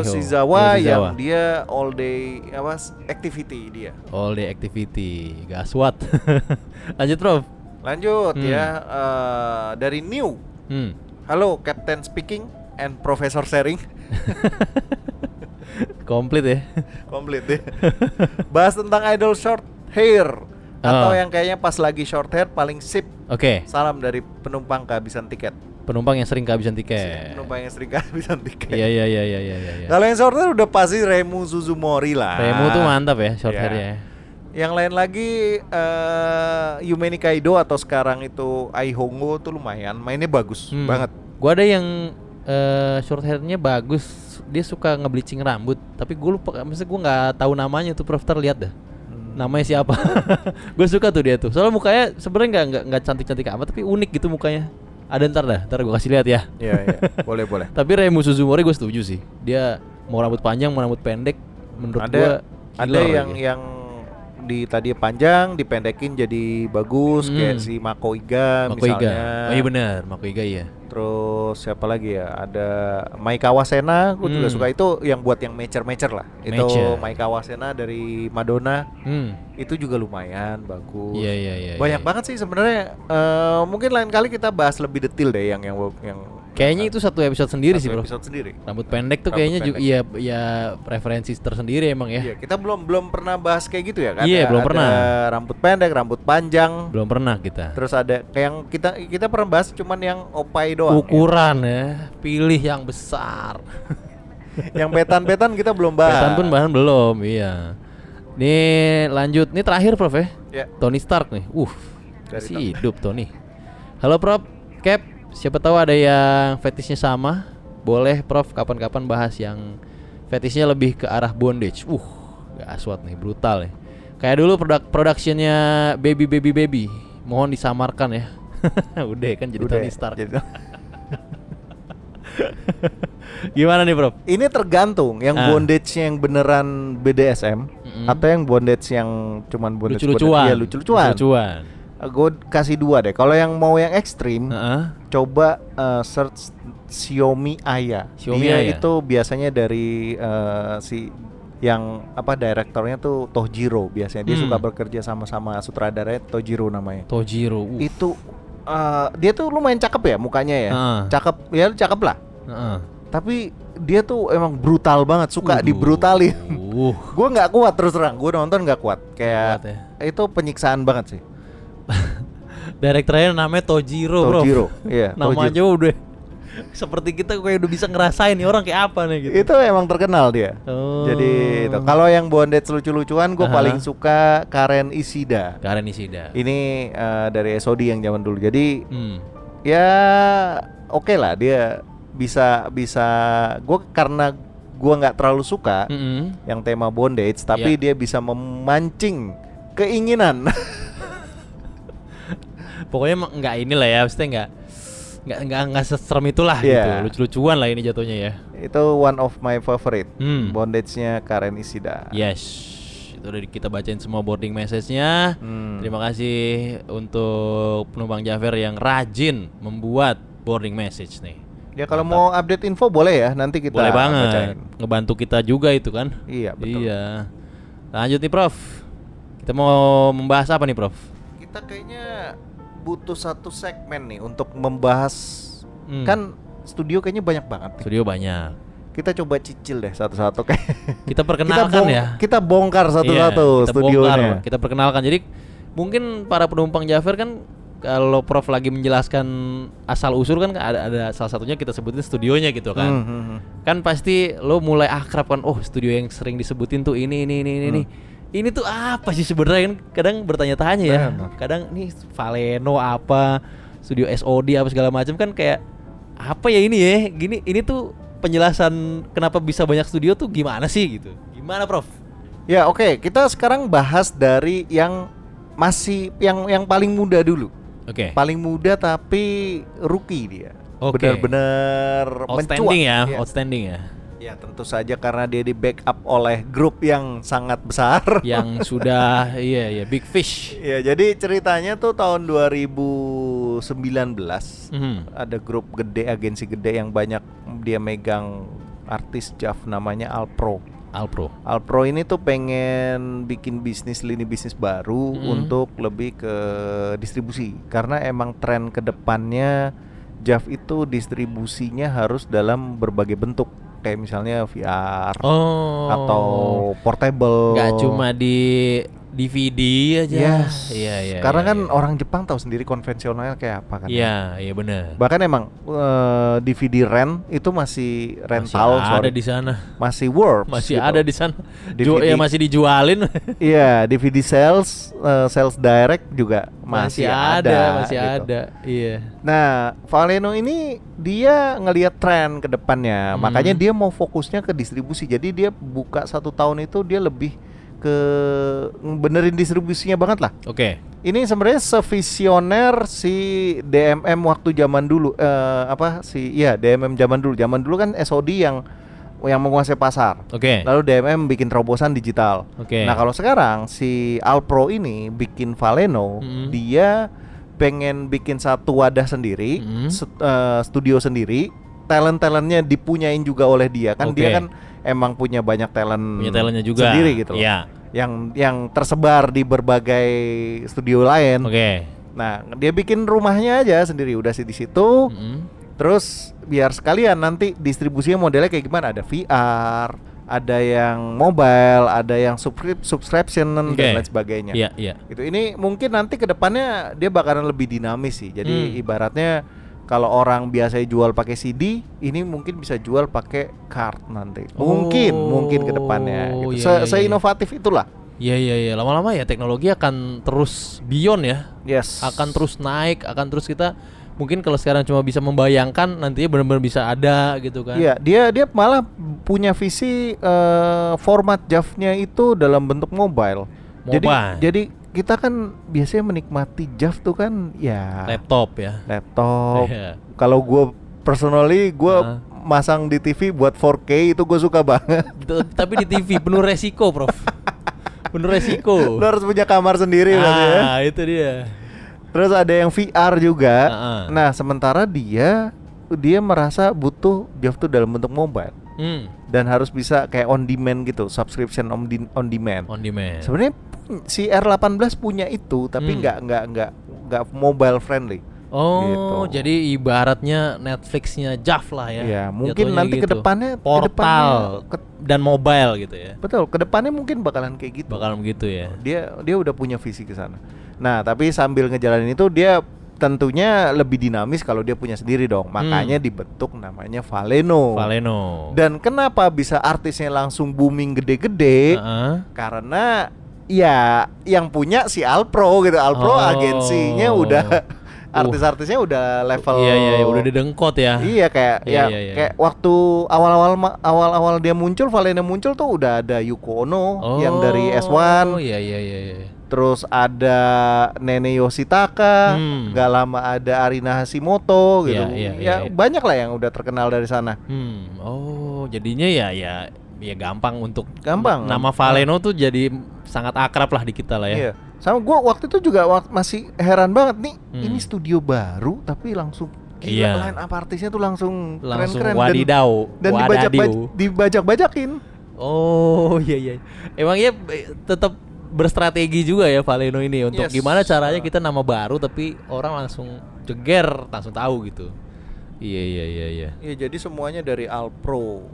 Yoshizawa. Yoshizawa, yang dia all day apa activity dia. All the activity gaswat. Lanjut Prof. Lanjut Hmm. ya eh, dari New. Hmm. Halo Captain speaking and Professor sharing. Komplit ya. Komplit deh. Bahas tentang idol short hair atau Ah. yang kayaknya pas lagi short hair paling sip. Oke. Salam dari penumpang kehabisan tiket. Penumpang yang sering kehabisan tiket. Penumpang yang sering kehabisan tiket. Iya iya iya iya iya. iya. Kalau yang short hair udah pasti Remu Suzumori lah. Remo tuh mantap ya short Ah. Iya. hairnya. ya. Yang lain lagi eh Yumeni Kaido atau sekarang itu Ai Hongo tuh lumayan mainnya bagus Hmm. banget. Gua ada yang eh, short hairnya bagus. Dia suka ngebleaching rambut, tapi gue lupa maksudnya gue nggak tahu namanya tuh Prof. Ntar lihat dah. namanya siapa gue suka tuh dia tuh soalnya mukanya sebenarnya nggak nggak nggak cantik cantik amat tapi unik gitu mukanya ada ntar dah ntar gue kasih lihat ya Iya iya, boleh boleh. tapi Remu Suzumori gue setuju sih dia mau rambut panjang mau rambut pendek menurut ada gue ada yang yang di tadi panjang dipendekin jadi bagus kayak Hmm. si Mako Iga Makoiga misalnya. oh iya benar Makoiga iya Terus siapa lagi ya? Ada Maika Wasena, gue juga Hmm. suka itu yang buat yang mecer-mecer lah. Itu Mecer. Maika Wasena dari Madonna hmm itu juga lumayan bagus. iya iya iya Banyak iya. banget sih sebenarnya. Eh, mungkin lain kali kita bahas lebih detail deh yang yang yang kayaknya itu satu episode sendiri satu sih bro episode sendiri. rambut pendek tuh Rambut kayaknya juga pendek. iya ya preferensi tersendiri emang ya Iya, kita belum belum pernah bahas kayak gitu ya kan? Iya, Ada- belum pernah. ada Rambut pendek, rambut panjang, belum pernah kita Terus ada kayak yang kita kita pernah bahas cuman yang opai doang. iya. ukuran ya pilih yang besar ya. Yang petan-petan kita belum bahas. Petan pun bahan belum, iya. Nih lanjut, nih terakhir Prof ya. Ya. Tony Stark nih. Uh, Dari masih hidup Tony. Halo Prof, Cap, siapa tahu ada yang fetishnya sama. Boleh Prof kapan-kapan bahas yang fetishnya lebih ke arah bondage. Uh, gak aswat nih, brutal ya. Kayak dulu produk productionnya Baby Baby Baby. Mohon disamarkan ya. Udah kan jadi Udah Tony ya, Stark. jadi- Gimana nih Prof? ini tergantung yang Ah. bondage yang beneran BDSM Mm-mm. atau yang bondage yang cuman bondage Lucu-lucuan. Iya, lucu-lucuan. Lucu-lucuan. Gue kasih dua deh. Kalau yang mau yang ekstrim, Heeh. coba eh, search Xiaomi Aya. Xiaomi Dia Aya. itu biasanya dari eh, si yang apa direktornya tuh Tohjiro biasanya dia Hmm. suka bekerja sama-sama sutradaranya Tohjiro namanya. Tojiro. Hmm. Uh. itu eh, dia tuh lumayan cakep ya mukanya ya Heeh. cakep ya cakep lah Heeh. Tapi dia tuh emang brutal banget, suka Waduh. dibrutalin. Uh. gue nggak kuat terus terang, gue nonton nggak kuat. Nggak Kayak kuat ya? itu penyiksaan banget sih. Direkturnya namanya Tojiro, bro. Tojiro, iya, Nama Tojiro. aja udah seperti kita kayak udah bisa ngerasain nih orang kayak apa nih gitu. Itu emang terkenal dia. Oh. Jadi itu. kalau yang bondage lucu-lucuan gue Aha. paling suka Karen Isida. Karen Ishida. Ini eh, dari SOD yang zaman dulu. Jadi Hmm. ya oke lah dia bisa bisa gue karena gua nggak terlalu suka Mm-mm. yang tema bondage tapi Ya. dia bisa memancing keinginan Pokoknya emang nggak inilah ya, maksudnya nggak nggak nggak nggak seserem itulah Iya. gitu. Lucu-lucuan lah ini jatuhnya ya. itu one of my favorite Hmm. Ya, bondage-nya Karen Isida Yes. Itu udah kita bacain semua boarding message-nya. Hmm. Terima kasih untuk penumpang Jafar yang rajin membuat boarding message nih. ya kalau mau update info boleh ya nanti kita Boleh banget. bacain. Ngebantu kita juga itu kan. Iya, betul. Iya. Lanjut nih Prof. Kita mau membahas apa nih Prof? kita kayaknya butuh satu segmen nih untuk membahas Hmm. kan studio kayaknya banyak banget nih. Studio banyak. kita coba cicil deh satu-satu kayak Kita perkenalkan bong- ya. Kita bongkar Iya, satu-satu kita studionya. bongkar, kita perkenalkan. Jadi mungkin para penumpang Jafar kan kalau Prof lagi menjelaskan asal usul kan ada ada salah satunya kita sebutin studionya gitu Hmm, kan. hmm, hmm. Kan pasti lo mulai akrab kan. Oh, studio yang sering disebutin tuh ini ini ini ini. ini. Ini tuh apa sih sebenarnya kan kadang bertanya-tanya ya. Benar. Kadang nih Valeno apa, studio SOD apa segala macam kan kayak apa ya ini ya? Gini ini tuh penjelasan kenapa bisa banyak studio tuh gimana sih gitu. Gimana, Prof? Ya oke, kita sekarang bahas dari yang masih yang yang paling muda dulu. Oke. Paling muda tapi rookie dia. Oke. Benar-benar Outstanding ya, Ya. outstanding ya. Ya, tentu saja karena dia di backup oleh grup yang sangat besar. Yang sudah iya iya big fish. ya, jadi ceritanya tuh tahun 2019 Mhm. ada grup gede, agensi gede yang banyak dia megang artis Jav namanya Alpro. Alpro. Alpro ini tuh pengen bikin bisnis lini bisnis baru Mm. untuk lebih ke distribusi karena emang tren kedepannya Jav itu distribusinya harus dalam berbagai bentuk kayak misalnya VR Oh. atau portable. nggak cuma di DVD aja. Yes. Iya iya. Karena iya, kan iya. orang Jepang tahu sendiri konvensionalnya kayak apa kan. Iya iya benar. Bahkan emang eh, DVD rent itu masih rental masih ada sorry. di sana. masih works Masih gitu. ada di sana. Ju- DVD. ya masih dijualin. Iya, DVD sales, eh, sales direct juga masih, ada, masih gitu. ada. Iya. Nah, Valeno ini dia ngelihat tren ke depannya, Hmm. makanya dia mau fokusnya ke distribusi. Jadi dia buka satu tahun itu dia lebih ke benerin distribusinya banget lah. Oke. Ini sebenarnya sevisioner si DMM waktu zaman dulu eh, apa si ya DMM zaman dulu. Zaman dulu kan SOD yang yang menguasai pasar. Oke. Lalu DMM bikin terobosan digital. Oke. Nah kalau sekarang si Alpro ini bikin Valeno, Mm-mm. dia pengen bikin satu wadah sendiri, Mm-mm. stu- eh, studio sendiri. Talent-talentnya dipunyain juga oleh dia kan dia Oke. kan emang punya banyak talent Punya talentnya juga. sendiri gitu loh. Iya. Yang yang tersebar di berbagai studio lain. Oke. Nah, dia bikin rumahnya aja sendiri udah sih di situ. Mhm. Terus biar sekalian nanti distribusinya modelnya kayak gimana? Ada VR, ada yang mobile, ada yang subscrip- subscription Oke. Hmm, dan lain sebagainya. Iya iya. Itu ini mungkin nanti kedepannya dia bakalan lebih dinamis sih. Jadi Hmm. ibaratnya kalau orang biasanya jual pakai CD, ini mungkin bisa jual pakai card nanti. Mungkin, Oh, mungkin kedepannya. Gitu. iya, Se- iya, iya. Seinovatif itulah. Iya iya iya lama-lama ya teknologi akan terus beyond ya Yes. akan terus naik akan terus kita mungkin kalau sekarang cuma bisa membayangkan nantinya benar-benar bisa ada gitu kan Iya, dia dia malah punya visi eh, format JAV-nya itu dalam bentuk mobile. Jadi Mobile. jadi kita kan biasanya menikmati JAV tuh kan ya laptop ya laptop. Iya. Kalau gue personally gue Ah. masang di TV buat 4K itu gue suka banget. Gitu, tapi di TV penuh resiko prof penuh resiko Lo harus punya kamar sendiri berarti ya. ah itu dia Terus ada yang VR juga. Ah, ah. Nah, sementara dia dia merasa butuh JAV tuh dalam bentuk mobile hmm. dan harus bisa kayak on demand gitu, subscription on, de- on demand. on demand Sebenarnya pu- si R18 punya itu Hmm. tapi nggak nggak nggak nggak mobile friendly. Oh, Gitu. jadi ibaratnya Netflixnya JAF lah ya. Iya, mungkin Jatuhnya nanti ke depannya- ke portal depannya ke- dan mobile gitu ya. Betul, kedepannya mungkin bakalan kayak gitu. Bakal begitu ya. Dia dia udah punya visi ke sana. Nah, tapi sambil ngejalanin itu dia tentunya lebih dinamis kalau dia punya sendiri dong. Makanya dibentuk namanya Hmm. Valeno. Valeno. Dan kenapa bisa artisnya langsung booming gede-gede? Heeh. Karena ya yang punya si Alpro gitu. Alpro Oh. Uh. agensinya udah artis-artisnya udah level Iya iya iya, udah didengkot ya. Iya kayak Iya, ya iya, iya. kayak waktu awal-awal ma- awal-awal dia muncul Valena muncul tuh udah ada Yuko Ono yang dari Oh S1, iya iya iya iya. terus ada Nene Yoshitaka, Hmm. nggak lama ada Arina Hashimoto gitu. Iya, iya, ya iya, iya. banyak lah yang udah terkenal dari sana. Hmm, oh jadinya ya ya ya gampang untuk Gampang. Nama Valeno tuh jadi sangat akrab lah di kita lah ya. Iya. Sama gua waktu itu juga wak- masih heran banget nih, Hmm. ini studio baru tapi langsung gila Iya. line up artisnya tuh langsung Langsung keren-keren wadidau, dan, dan dibajak-baj- wadadiu. dibajak-bajakin. Oh iya iya. Emang ya tetap berstrategi juga ya Valeno ini untuk Yes. Ah. gimana caranya kita nama baru tapi orang langsung jeger langsung tahu gitu. Iya iya iya iya. Iya jadi semuanya dari Alpro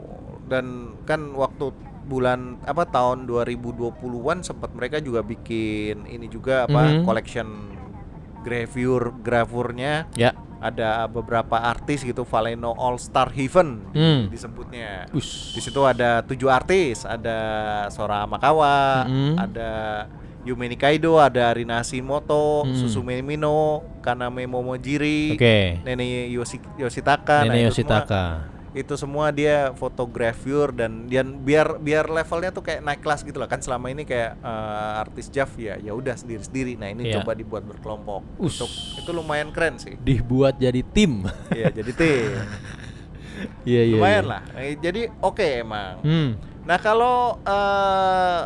dan kan waktu bulan apa tahun 2020-an sempat mereka juga bikin ini juga apa Mhm. collection gravure gravurnya Ya. ada beberapa artis gitu Valeno All Star Heaven di- Hmm. disebutnya. Ush. Di situ ada tujuh artis, ada Sora Makawa, Mhm. ada Yumeni Kaido, ada Rina Hashimoto, Mhm. Susume Mino, Kaname Momojiri, Oke. Nene Yoshi, Yoshitaka. nah Nene itu semua- Yoshitaka. itu semua dia fotografur dan dan biar biar levelnya tuh kayak naik kelas gitu loh kan selama ini kayak eh, artis Jav ya ya udah sendiri sendiri nah ini Iya. coba dibuat berkelompok Ush. Untuk- itu lumayan keren sih Dibuat jadi tim. Iya jadi tim Iya iya. lumayan iya. lah Eh, jadi oke emang Hmm. nah kalau eh,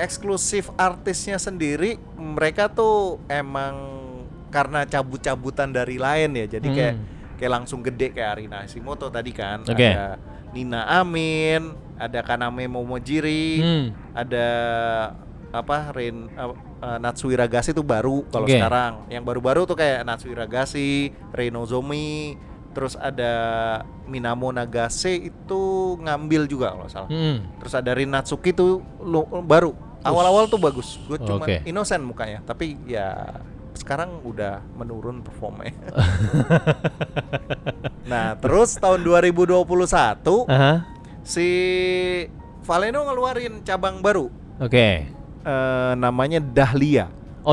eksklusif artisnya sendiri mereka tuh emang karena cabut-cabutan dari lain ya jadi kayak Hmm. kayak langsung gede kayak Arina Hashimoto tadi kan Oke. ada Nina Amin ada Kaname Momojiri Hmm. ada apa Rin eh, eh, Natsui Ragasi itu baru kalau Oke. sekarang yang baru-baru tuh kayak Natsui Ragasi Reno Zomi terus ada Minamo Nagase itu ngambil juga kalau nggak salah Hmm. terus ada Rin Natsuki tuh lu- baru awal-awal tuh bagus gue cuman Oke. innocent mukanya tapi ya sekarang udah menurun performnya Nah, terus tahun 2021 Aha. si Valeno ngeluarin cabang baru Oke. eh, namanya Dahlia. Oh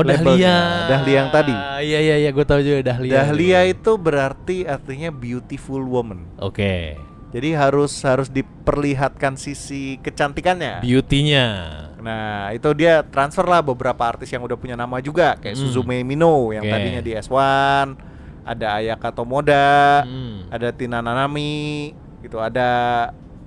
Dahlia. Labelnya. Dahlia yang tadi. Iya iya iya gue tahu juga Dahlia. Dahlia itu berarti artinya beautiful woman. Oke. Jadi harus harus diperlihatkan sisi kecantikannya. Beauty-nya. Nah, itu dia transfer lah beberapa artis yang udah punya nama juga Hmm. kayak Suzume Mino yang Oke. tadinya di S1, ada Ayaka Tomoda, Hmm. ada Tina Nanami, gitu, ada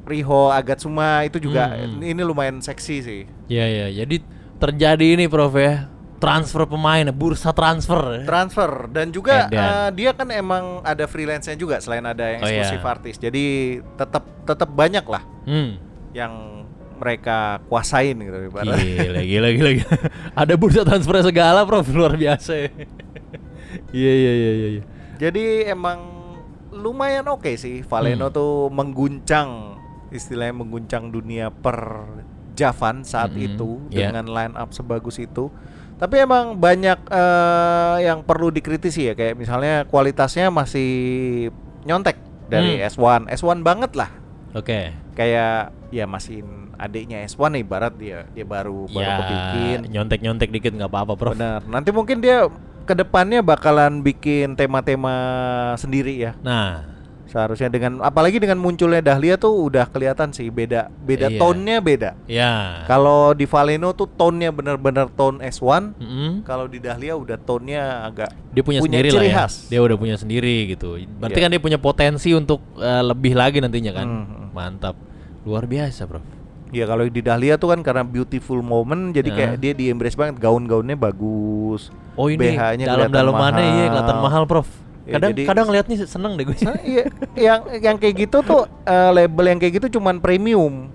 Riho Agatsuma itu juga Hmm, hmm. ini lumayan seksi sih. Iya iya. Jadi terjadi ini Prof ya transfer pemain, bursa transfer. Transfer dan juga Edan. eh, dia kan emang ada freelance-nya juga selain ada yang Oh, iya. eksklusif artis. Jadi tetap tetap banyak lah hmm. yang mereka kuasain gitu ibaratnya. Gila, gila, gila, gila. Ada bursa transfer segala, Prof. Luar biasa. ya. Iya, iya, iya, iya. iya. Jadi emang lumayan oke sih Valeno Hmm. tuh mengguncang istilahnya mengguncang dunia per Javan saat Mm-mm, itu iya. dengan line up sebagus itu. Tapi emang banyak eh, yang perlu dikritisi ya kayak misalnya kualitasnya masih nyontek dari Hmm. S1. S1 banget lah. Oke. Kayak ya masih adiknya S1 ibarat dia dia baru baru Ya, kebikin nyontek-nyontek dikit nggak apa-apa, Prof. Benar. Nanti mungkin dia kedepannya bakalan bikin tema-tema sendiri ya. Nah, Seharusnya dengan apalagi dengan munculnya Dahlia tuh udah kelihatan sih beda beda Iya. tone-nya beda. ya. Kalau di Valeno tuh tone-nya bener-bener tone S1. Mm-mm. Kalau di Dahlia udah tone-nya agak Dia punya, sendiri ciri lah ya. khas. Dia udah punya sendiri gitu. Berarti Iya. kan dia punya potensi untuk eh, lebih lagi nantinya kan. Mhm. Mantap. Luar biasa, Prof. Ya kalau di Dahlia tuh kan karena beautiful moment jadi Ya. kayak dia di embrace banget gaun-gaunnya bagus. Oh ini BH-nya dalam-dalamannya iya kelihatan mahal, Prof. Ya, Kadang jadi- kadang lihat nih seneng deh gue. Nah, iya, yang yang kayak gitu tuh eh, label yang kayak gitu cuman premium.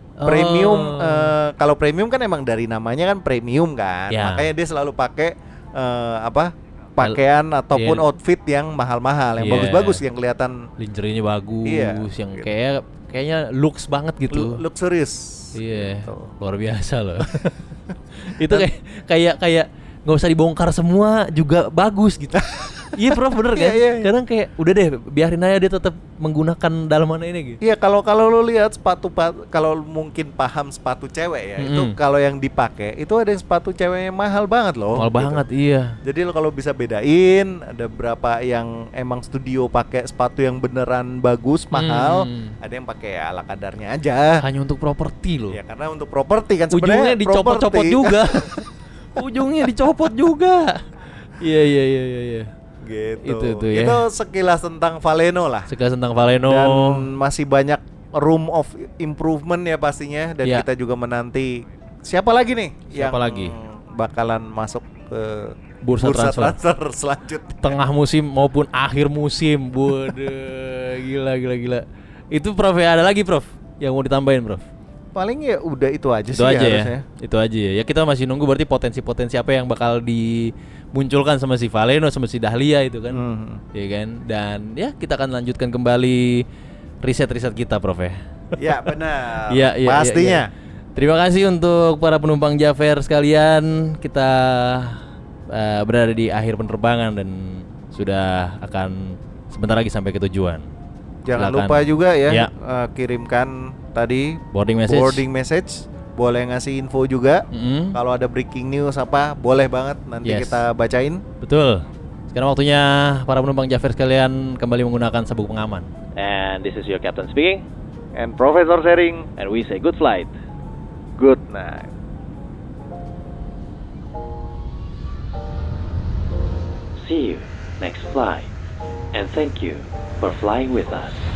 Oh. Premium eh, kalau premium kan emang dari namanya kan premium kan. Ya. Makanya dia selalu pakai eh, apa? pakaian ataupun Iya. outfit yang mahal-mahal, yang Iya. bagus-bagus, yang kelihatan Lingerie-nya bagus, Iya, yang gitu. kayak kayaknya looks banget gitu. lu- luxurious. Iya, Gitu. luar biasa loh. itu kayak kayak kayak nggak usah dibongkar semua juga bagus gitu. Iya, Prof bener kan? Iya, iya, iya. Kadang kayak udah deh biarin aja dia tetap menggunakan dalamannya ini gitu. Iya kalau kalau lu lihat sepatu pa- kalau mungkin paham sepatu cewek ya itu Mm-mm. kalau yang dipakai itu ada yang sepatu ceweknya mahal banget loh. Mahal gitu. banget, iya. Jadi lo kalau bisa bedain ada berapa yang emang studio pakai sepatu yang beneran bagus mahal, Hmm. ada yang pakai ya ala kadarnya aja. Hanya untuk properti loh. Ya karena untuk properti kan Ujungnya sebenarnya dicopot-copot properti. juga. Ujungnya dicopot juga. Iya, iya, iya, iya, iya. gitu. Itu Itu, tuh ya. sekilas tentang Valeno lah. Sekilas tentang Valeno. Dan masih banyak room of improvement ya pastinya dan Iya. kita juga menanti siapa lagi nih Siapa yang lagi? bakalan masuk ke Bursa transfer. selanjutnya. tengah musim maupun akhir musim. Waduh, gila gila gila. Itu Prof ya ada lagi Prof yang mau ditambahin Prof. Paling ya udah itu aja Itu sih aja ya. harusnya. Itu aja ya. Ya kita masih nunggu berarti potensi-potensi apa yang bakal dimunculkan sama si Valeno sama si Dahlia itu kan. Hmm. Iya kan? Dan ya kita akan lanjutkan kembali riset-riset kita Prof ya. Ya benar. Iya, iya, iya, Pastinya. iya. Terima kasih untuk para penumpang Jafer sekalian. Kita eh, berada di akhir penerbangan dan sudah akan sebentar lagi sampai ke tujuan. Jangan Silakan. lupa juga ya, Iya. eh, kirimkan tadi Boarding message. boarding message. Boleh ngasih info juga. Mm-mm. Kalau ada breaking news apa, boleh banget nanti Yes. kita bacain. Betul. Sekarang waktunya para penumpang Jafer sekalian kembali menggunakan sabuk pengaman. And this is your captain speaking. And Profesor Sharing, And we say good flight. good night. See you next flight. And thank you for flying with us.